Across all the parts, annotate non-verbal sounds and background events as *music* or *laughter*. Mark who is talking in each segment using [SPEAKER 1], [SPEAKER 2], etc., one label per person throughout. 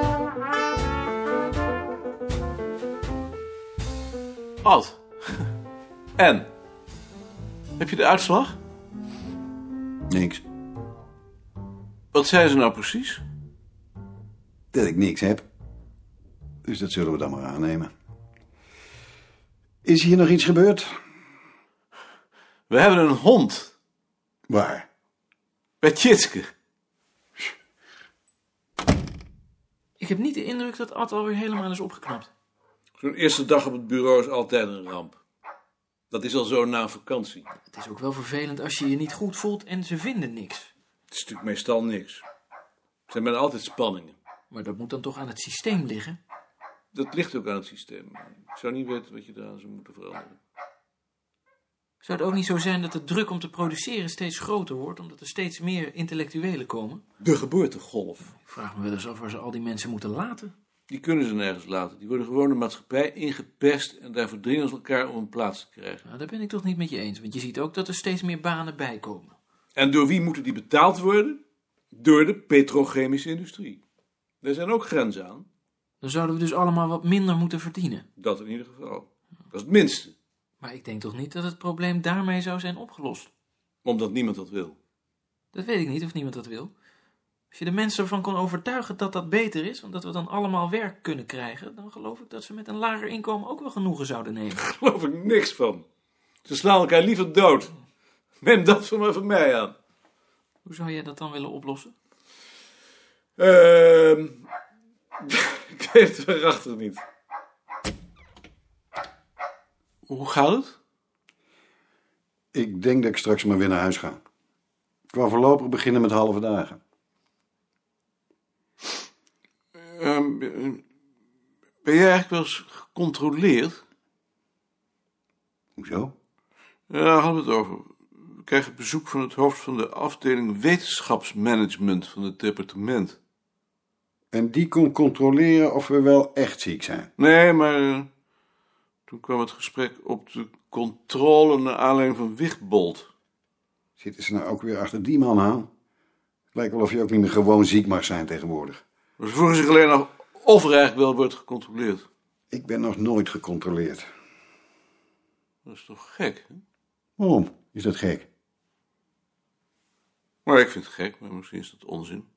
[SPEAKER 1] *laughs* En? Heb je de uitslag?
[SPEAKER 2] Niks.
[SPEAKER 1] Wat zei ze nou precies?
[SPEAKER 2] Dat ik niks heb. Dus dat zullen we dan maar aannemen. Is hier nog iets gebeurd?
[SPEAKER 1] We hebben een hond
[SPEAKER 2] Waar?
[SPEAKER 1] bij Tjitske.
[SPEAKER 3] Ik heb niet de indruk dat Ad alweer helemaal is opgeknapt.
[SPEAKER 1] Zo'n eerste dag op het bureau is altijd een ramp. Dat is al zo na een vakantie.
[SPEAKER 3] Het is ook wel vervelend als je je niet goed voelt en ze vinden niks.
[SPEAKER 1] Het is natuurlijk meestal niks. Er zijn bijna altijd spanningen.
[SPEAKER 3] Maar dat moet dan toch aan het systeem liggen?
[SPEAKER 1] Dat ligt ook aan het systeem. Ik zou niet weten wat je eraan zou moeten veranderen.
[SPEAKER 3] Zou het ook niet zo zijn dat de druk om te produceren steeds groter wordt, omdat er steeds meer intellectuelen komen?
[SPEAKER 1] De geboortegolf.
[SPEAKER 3] Ik vraag me wel eens af waar ze al die mensen moeten laten.
[SPEAKER 1] Die kunnen ze nergens laten. Die worden gewoon de maatschappij ingepest en daar verdringen ze elkaar om een plaats te krijgen.
[SPEAKER 3] Nou, daar ben ik toch niet met je eens, want je ziet ook dat er steeds meer banen bijkomen.
[SPEAKER 1] En door wie moeten die betaald worden? Door de petrochemische industrie. Daar zijn ook grenzen aan.
[SPEAKER 3] Dan zouden we dus allemaal wat minder moeten verdienen.
[SPEAKER 1] Dat in ieder geval. Dat is het minste,
[SPEAKER 3] Maar ik denk toch niet dat het probleem daarmee zou zijn opgelost?
[SPEAKER 1] omdat niemand dat wil. *laughs*
[SPEAKER 3] Dat weet ik niet of niemand dat wil. Als je de mensen ervan kon overtuigen dat dat beter is, omdat we dan allemaal werk kunnen krijgen, dan geloof ik dat ze met een lager inkomen ook wel genoegen zouden nemen.
[SPEAKER 1] Daar geloof ik niks van. Ze slaan elkaar liever dood. Neem dat van, van mij aan.
[SPEAKER 3] Hoe zou jij dat dan willen oplossen?
[SPEAKER 1] Ehm *laughs* ik weet het waarachtig niet. Hoe gaat het?
[SPEAKER 2] Ik denk dat ik straks maar weer naar huis ga. Ik wou voorlopig beginnen met halve dagen.
[SPEAKER 1] Ehm, ben jij eigenlijk wel eens gecontroleerd?
[SPEAKER 2] Hoezo?
[SPEAKER 1] Ja, daar hadden we het over. We krijgen bezoek van het hoofd van de afdeling wetenschapsmanagement van het departement.
[SPEAKER 2] En die kon controleren of we wel echt ziek zijn.
[SPEAKER 1] Nee, maar eh, toen kwam het gesprek op de controle naar aanleiding van Wichtbold.
[SPEAKER 2] Zitten ze nou ook weer achter die man aan? Het lijkt wel of je ook niet meer gewoon ziek mag zijn tegenwoordig.
[SPEAKER 1] Maar Ze vroegen zich alleen af of er eigenlijk wel wordt gecontroleerd.
[SPEAKER 2] Ik ben nog nooit gecontroleerd.
[SPEAKER 1] Dat is toch gek, hè?
[SPEAKER 2] Waarom? Is dat gek?
[SPEAKER 1] Maar ik vind het gek, maar misschien is dat onzin.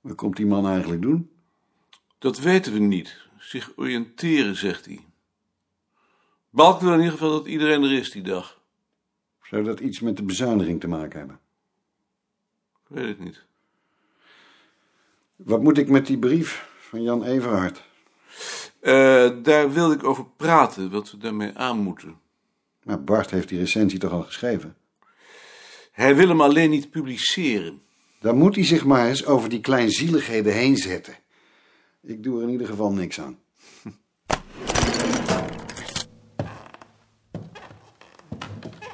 [SPEAKER 2] Wat komt die man eigenlijk doen?
[SPEAKER 1] Dat weten we niet. Zich oriënteren, zegt hij. Balk wil in ieder geval dat iedereen er is die dag.
[SPEAKER 2] Zou dat iets met de bezuiniging te maken hebben?
[SPEAKER 1] Ik weet het niet.
[SPEAKER 2] Wat moet ik met die brief van Jan Everhard?
[SPEAKER 1] Eh, daar wilde ik over praten, wat we daarmee aan moeten.
[SPEAKER 2] Maar Nou, Bart heeft die recensie toch al geschreven?
[SPEAKER 1] Hij wil hem alleen niet publiceren.
[SPEAKER 2] Dan moet hij zich maar eens over die kleinzieligheden heen zetten. Ik doe er in ieder geval niks aan.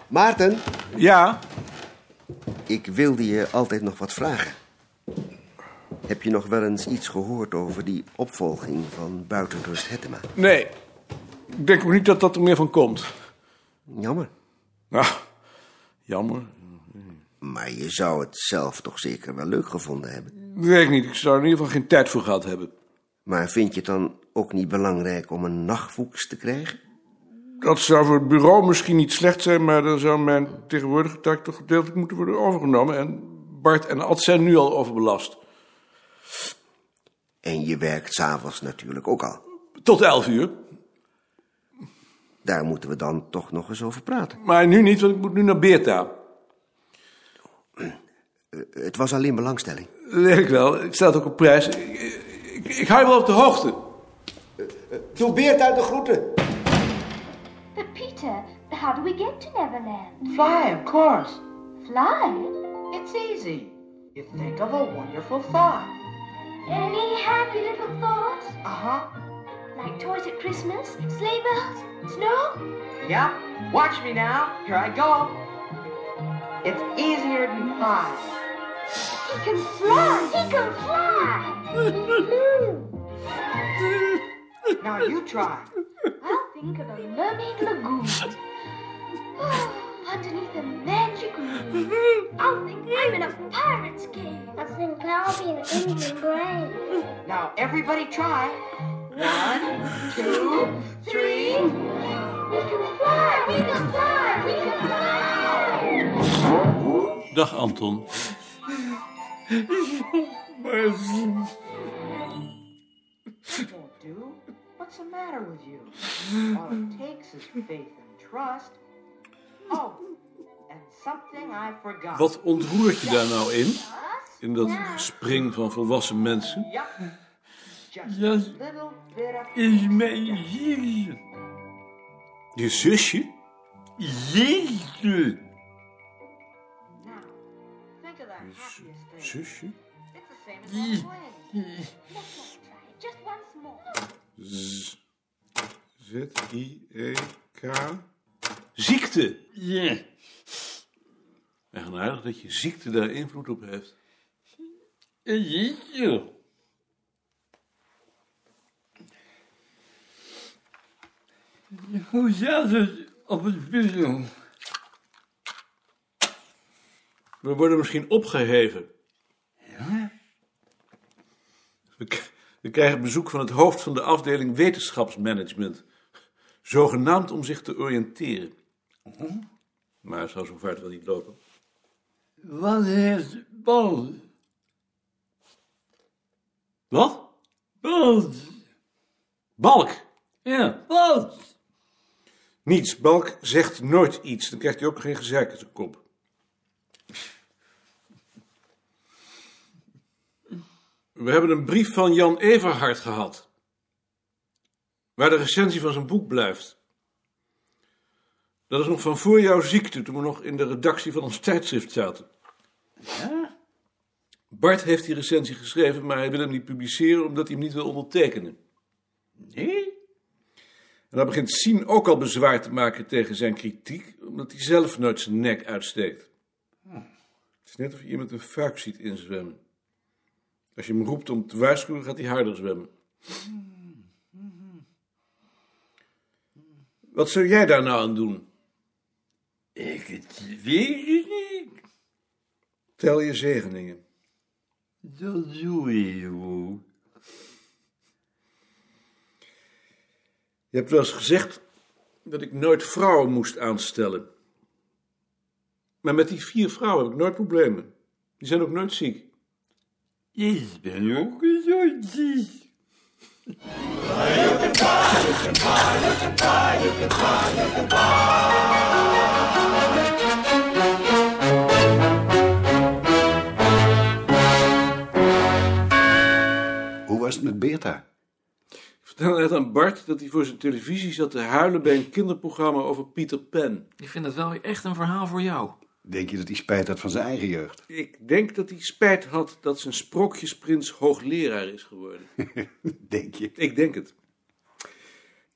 [SPEAKER 4] Maarten,
[SPEAKER 1] Ja,
[SPEAKER 4] ik wilde je altijd nog wat vragen. Heb je nog wel eens iets gehoord over die opvolging van Buitenrust Hettema?
[SPEAKER 1] nee. Ik denk ook niet dat dat er meer van komt.
[SPEAKER 4] Jammer.
[SPEAKER 1] Nou, jammer.
[SPEAKER 4] Maar je zou het zelf toch zeker wel leuk gevonden hebben.
[SPEAKER 1] Weet ik niet. Ik zou er in ieder geval geen tijd voor gehad hebben.
[SPEAKER 4] Maar vind je het dan ook niet belangrijk om een nachtvoeks te krijgen?
[SPEAKER 1] Dat zou voor het bureau misschien niet slecht zijn, maar dan zou mijn tegenwoordige taak toch gedeeltelijk moeten worden overgenomen. En Bart en Ad zijn nu al overbelast.
[SPEAKER 4] En je werkt s'avonds natuurlijk ook al.
[SPEAKER 1] Tot elf uur.
[SPEAKER 4] Daar moeten we dan toch nog eens over praten.
[SPEAKER 1] Maar nu niet, want ik moet nu naar Beerta.
[SPEAKER 4] Het was alleen belangstelling.
[SPEAKER 1] Dat weet ik wel. Ik sta het ook op prijs. Ik, ik, ik hou je wel op de hoogte.
[SPEAKER 4] Doe Beerta de groeten.
[SPEAKER 5] But Peter, how do we get to Neverland?
[SPEAKER 6] Fly, of course.
[SPEAKER 5] Fly?
[SPEAKER 6] It's easy. You think of a wonderful thought.
[SPEAKER 5] Any happy little thoughts?
[SPEAKER 6] Uh huh.
[SPEAKER 5] Like toys at Christmas, sleigh bells, snow?
[SPEAKER 6] Yeah. Watch me now. Here I go. It's easier than fly.
[SPEAKER 5] He can fly! He can *laughs* fly!
[SPEAKER 6] Now you try.
[SPEAKER 5] I'll think of a mermaid lagoon. Oh, Underneath a magic moon. I'll think I'm in a pirate's cave. I think I'll be an Indian grave.
[SPEAKER 6] Now everybody try. One, two, three.
[SPEAKER 5] Whoa! We can fly! We can fly! We can fly!
[SPEAKER 1] Dag Anton.
[SPEAKER 6] Don't do. What's the matter with you? All it takes is faith and trust. Oh, and something I forgot.
[SPEAKER 1] Wat ontroert je daar nou in? In dat spring van volwassen mensen?
[SPEAKER 6] Yup. Just
[SPEAKER 1] Yes.
[SPEAKER 6] a little bit of
[SPEAKER 1] Is mijn zusje. Je zusje? Jeetje.
[SPEAKER 6] now. Think of the happiest thing.
[SPEAKER 1] Zusje?
[SPEAKER 6] It's the same as that plane.
[SPEAKER 5] Let's not try it just once more.
[SPEAKER 7] Z-I-E-K.
[SPEAKER 1] Ziekte. Ja. Eigenaardig dat je ziekte daar invloed op heeft. Eh, Jeetje. Hoe zat het op het bureau? We worden misschien opgeheven. We, k- we krijgen bezoek van het hoofd van de afdeling wetenschapsmanagement. Zogenaamd om zich te oriënteren. Maar hij zou zo vaart wel niet lopen. Wat heeft Bond? Wat? Bond. Balk. Ja, Bond. Niets. Balk zegt nooit iets. Dan krijgt hij ook geen gezeik in zijn kop. We hebben een brief van Jan Everhard gehad. Waar de recensie van zijn boek blijft. Dat is nog van voor jouw ziekte, toen we nog in de redactie van ons tijdschrift zaten. Bart heeft die recensie geschreven, maar hij wil hem niet publiceren omdat hij hem niet wil ondertekenen. Nee? En daar begint Sien ook al bezwaar te maken tegen zijn kritiek, omdat hij zelf nooit zijn nek uitsteekt. Het is net of je iemand een fuik ziet inzwemmen. Als je hem roept om te waarschuwen, gaat hij harder zwemmen. Wat zou jij daar nou aan doen? Ik het weet niet. Tel je zegeningen. Dat doe je ook. Je hebt wel eens gezegd dat ik nooit vrouwen moest aanstellen. Maar met die vier vrouwen heb ik nooit problemen. Die zijn ook nooit ziek. Ik ben ook nooit ziek.
[SPEAKER 2] Hoe was het met Beerta?
[SPEAKER 1] Ik vertelde net aan Bart dat hij voor zijn televisie zat te huilen bij een kinderprogramma over Pieter Pan.
[SPEAKER 3] Ik vind dat wel weer echt een verhaal voor jou.
[SPEAKER 2] Denk je dat hij spijt had van zijn eigen jeugd? *laughs*
[SPEAKER 1] Ik denk dat hij spijt had dat zijn sprookjesprins hoogleraar is geworden.
[SPEAKER 2] Denk je?
[SPEAKER 1] Ik denk het.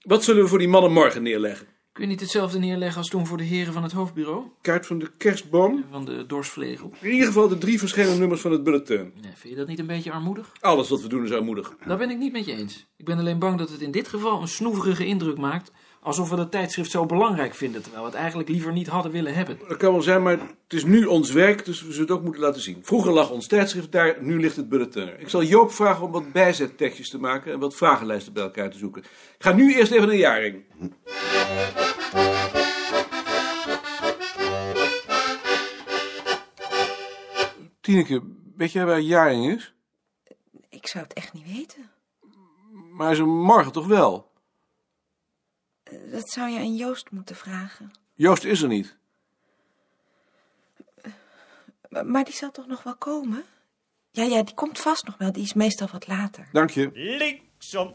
[SPEAKER 1] Wat zullen we voor die mannen morgen neerleggen?
[SPEAKER 3] Kun je niet hetzelfde neerleggen als toen voor de heren van het hoofdbureau?
[SPEAKER 1] Kaart van de kerstboom.
[SPEAKER 3] Van de dorsvlegel.
[SPEAKER 1] In ieder geval de drie verschillende nummers van het bulletin.
[SPEAKER 3] Nee, vind je dat niet een beetje armoedig?
[SPEAKER 1] Alles wat we doen is armoedig.
[SPEAKER 3] Daar ben ik niet met je eens. Ik ben alleen bang dat het in dit geval een snoeverige indruk maakt. Alsof we dat tijdschrift zo belangrijk vinden, terwijl we het eigenlijk liever niet hadden willen hebben.
[SPEAKER 1] Dat kan wel zijn, maar het is nu ons werk, dus we zullen het ook moeten laten zien. Vroeger lag ons tijdschrift daar, nu ligt het bulletin er. Ik zal Joop vragen om wat bijzettekstjes te maken en wat vragenlijsten bij elkaar te zoeken. Ik ga nu eerst even naar Jaring. Tineke, weet jij waar Jaring is?
[SPEAKER 8] Ik zou het echt niet weten.
[SPEAKER 1] Maar hij is er morgen toch wel?
[SPEAKER 8] Dat zou je aan Joost moeten vragen.
[SPEAKER 1] Joost is er niet.
[SPEAKER 8] Maar, maar die zal toch nog wel komen? Ja, ja, die komt vast nog wel. Die is meestal wat later.
[SPEAKER 1] Dank je.
[SPEAKER 9] Linksom.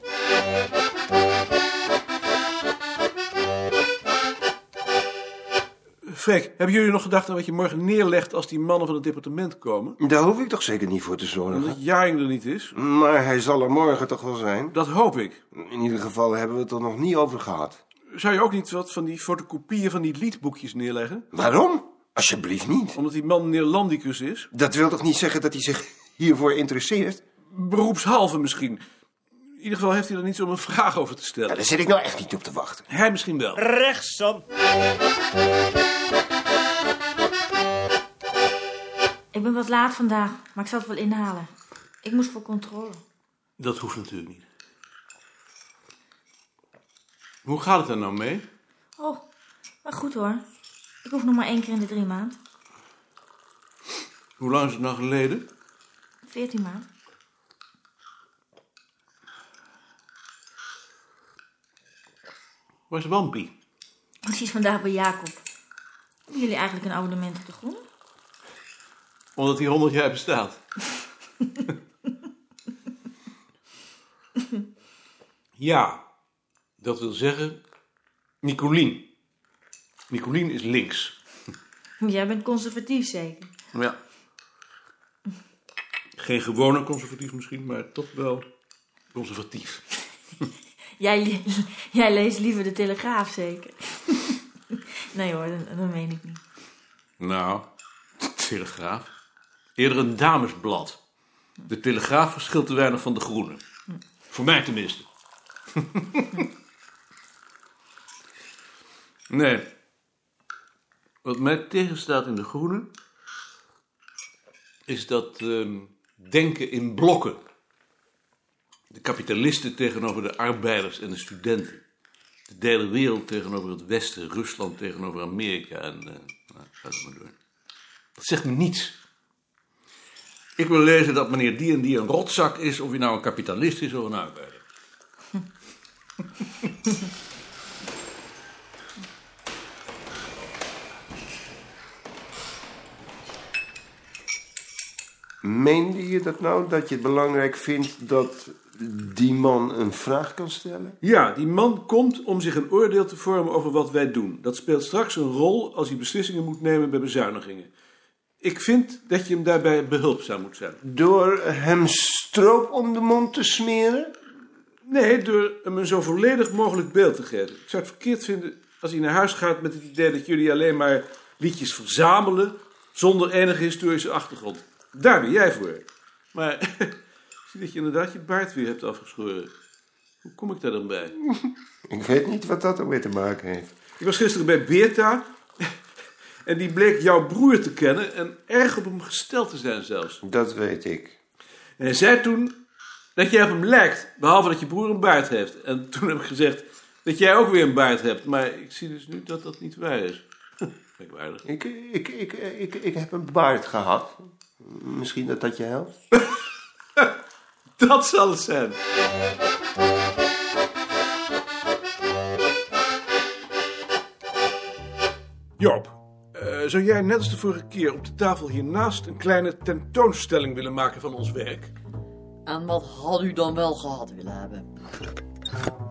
[SPEAKER 1] Freek, hebben jullie nog gedacht aan wat je morgen neerlegt als die mannen van het departement komen?
[SPEAKER 10] Daar hoef ik toch zeker niet voor te zorgen.
[SPEAKER 1] Omdat Jaring er niet is?
[SPEAKER 10] Maar hij zal er morgen toch wel zijn.
[SPEAKER 1] Dat hoop ik.
[SPEAKER 10] In ieder geval hebben we het er nog niet over gehad.
[SPEAKER 1] Zou je ook niet wat van die fotocopieën van die liedboekjes neerleggen?
[SPEAKER 10] Waarom? Alsjeblieft niet.
[SPEAKER 1] Omdat die man Neerlandicus is?
[SPEAKER 10] Dat wil toch niet zeggen dat hij zich hiervoor interesseert?
[SPEAKER 1] Beroepshalve misschien. In ieder geval heeft hij er niets om een vraag over te
[SPEAKER 10] Ja,
[SPEAKER 1] stellen.
[SPEAKER 10] daar zit ik nou echt niet op te wachten.
[SPEAKER 1] Hij misschien wel.
[SPEAKER 9] Rechtsom.
[SPEAKER 11] Ik ben wat laat vandaag, maar ik zal het wel inhalen. Ik moest voor controle.
[SPEAKER 1] Dat hoeft natuurlijk niet. Hoe gaat het er nou mee?
[SPEAKER 11] Oh, maar goed hoor. Ik hoef nog maar één keer in de drie maand.
[SPEAKER 1] Hoe lang is het nou geleden?
[SPEAKER 11] Veertien maand.
[SPEAKER 1] Waar is Wampie?
[SPEAKER 11] Precies vandaag bij Jacob. Hebben jullie eigenlijk een abonnement op de grond?
[SPEAKER 1] Omdat hij 100 jaar bestaat. *laughs* ja, dat wil zeggen Nicolien. Nicolien is links.
[SPEAKER 11] Jij bent conservatief zeker?
[SPEAKER 1] Ja. Geen gewone conservatief misschien, maar toch wel conservatief.
[SPEAKER 11] Jij, *laughs* le- jij leest liever de Telegraaf zeker? *laughs* nee hoor, dat, dat meen ik niet.
[SPEAKER 1] Nou, *laughs* Telegraaf. Eerder een damesblad. De Telegraaf verschilt te weinig van de Groene. Voor mij tenminste. *laughs* nee. Wat mij tegenstaat in de Groene... is dat ehm, denken in blokken. De kapitalisten tegenover de arbeiders en de studenten. De derde wereld tegenover het Westen, Rusland tegenover Amerika en. eh nou, ga het maar door. Dat zegt me niets. Ik wil lezen dat meneer die en die een rotzak is, of hij nou een kapitalist is of een arbeider.
[SPEAKER 10] Meende je dat nou, dat je het belangrijk vindt dat die man een vraag kan stellen?
[SPEAKER 1] Ja, die man komt om zich een oordeel te vormen over wat wij doen. Dat speelt straks een rol als hij beslissingen moet nemen bij bezuinigingen. Ik vind dat je hem daarbij behulpzaam moet zijn.
[SPEAKER 10] Door hem stroop om de mond te smeren?
[SPEAKER 1] Nee, door hem een zo volledig mogelijk beeld te geven. Ik zou het verkeerd vinden als hij naar huis gaat met het idee dat jullie alleen maar liedjes verzamelen zonder enige historische achtergrond. Daar ben jij voor. Maar *laughs* ik zie dat je inderdaad je baard weer hebt afgeschoren. Hoe kom ik daar dan bij?
[SPEAKER 10] Ik weet niet wat dat ermee te maken heeft.
[SPEAKER 1] Ik was gisteren bij Beerta *laughs* en die bleek jouw broer te kennen en erg op hem gesteld te zijn zelfs.
[SPEAKER 10] Dat weet ik.
[SPEAKER 1] En hij zei toen dat jij op hem lijkt, behalve dat je broer een baard heeft. En toen heb ik gezegd dat jij ook weer een baard hebt. Maar ik zie dus nu dat dat niet waar is. *laughs* Merkwaardig.
[SPEAKER 10] Ik, ik, ik, ik, ik heb een baard gehad. Misschien dat dat je helpt?
[SPEAKER 1] Dat zal het zijn. Joop, eh, zou jij net als de vorige keer op de tafel hiernaast een kleine tentoonstelling willen maken van ons werk?
[SPEAKER 9] En wat had u dan wel gehad willen hebben?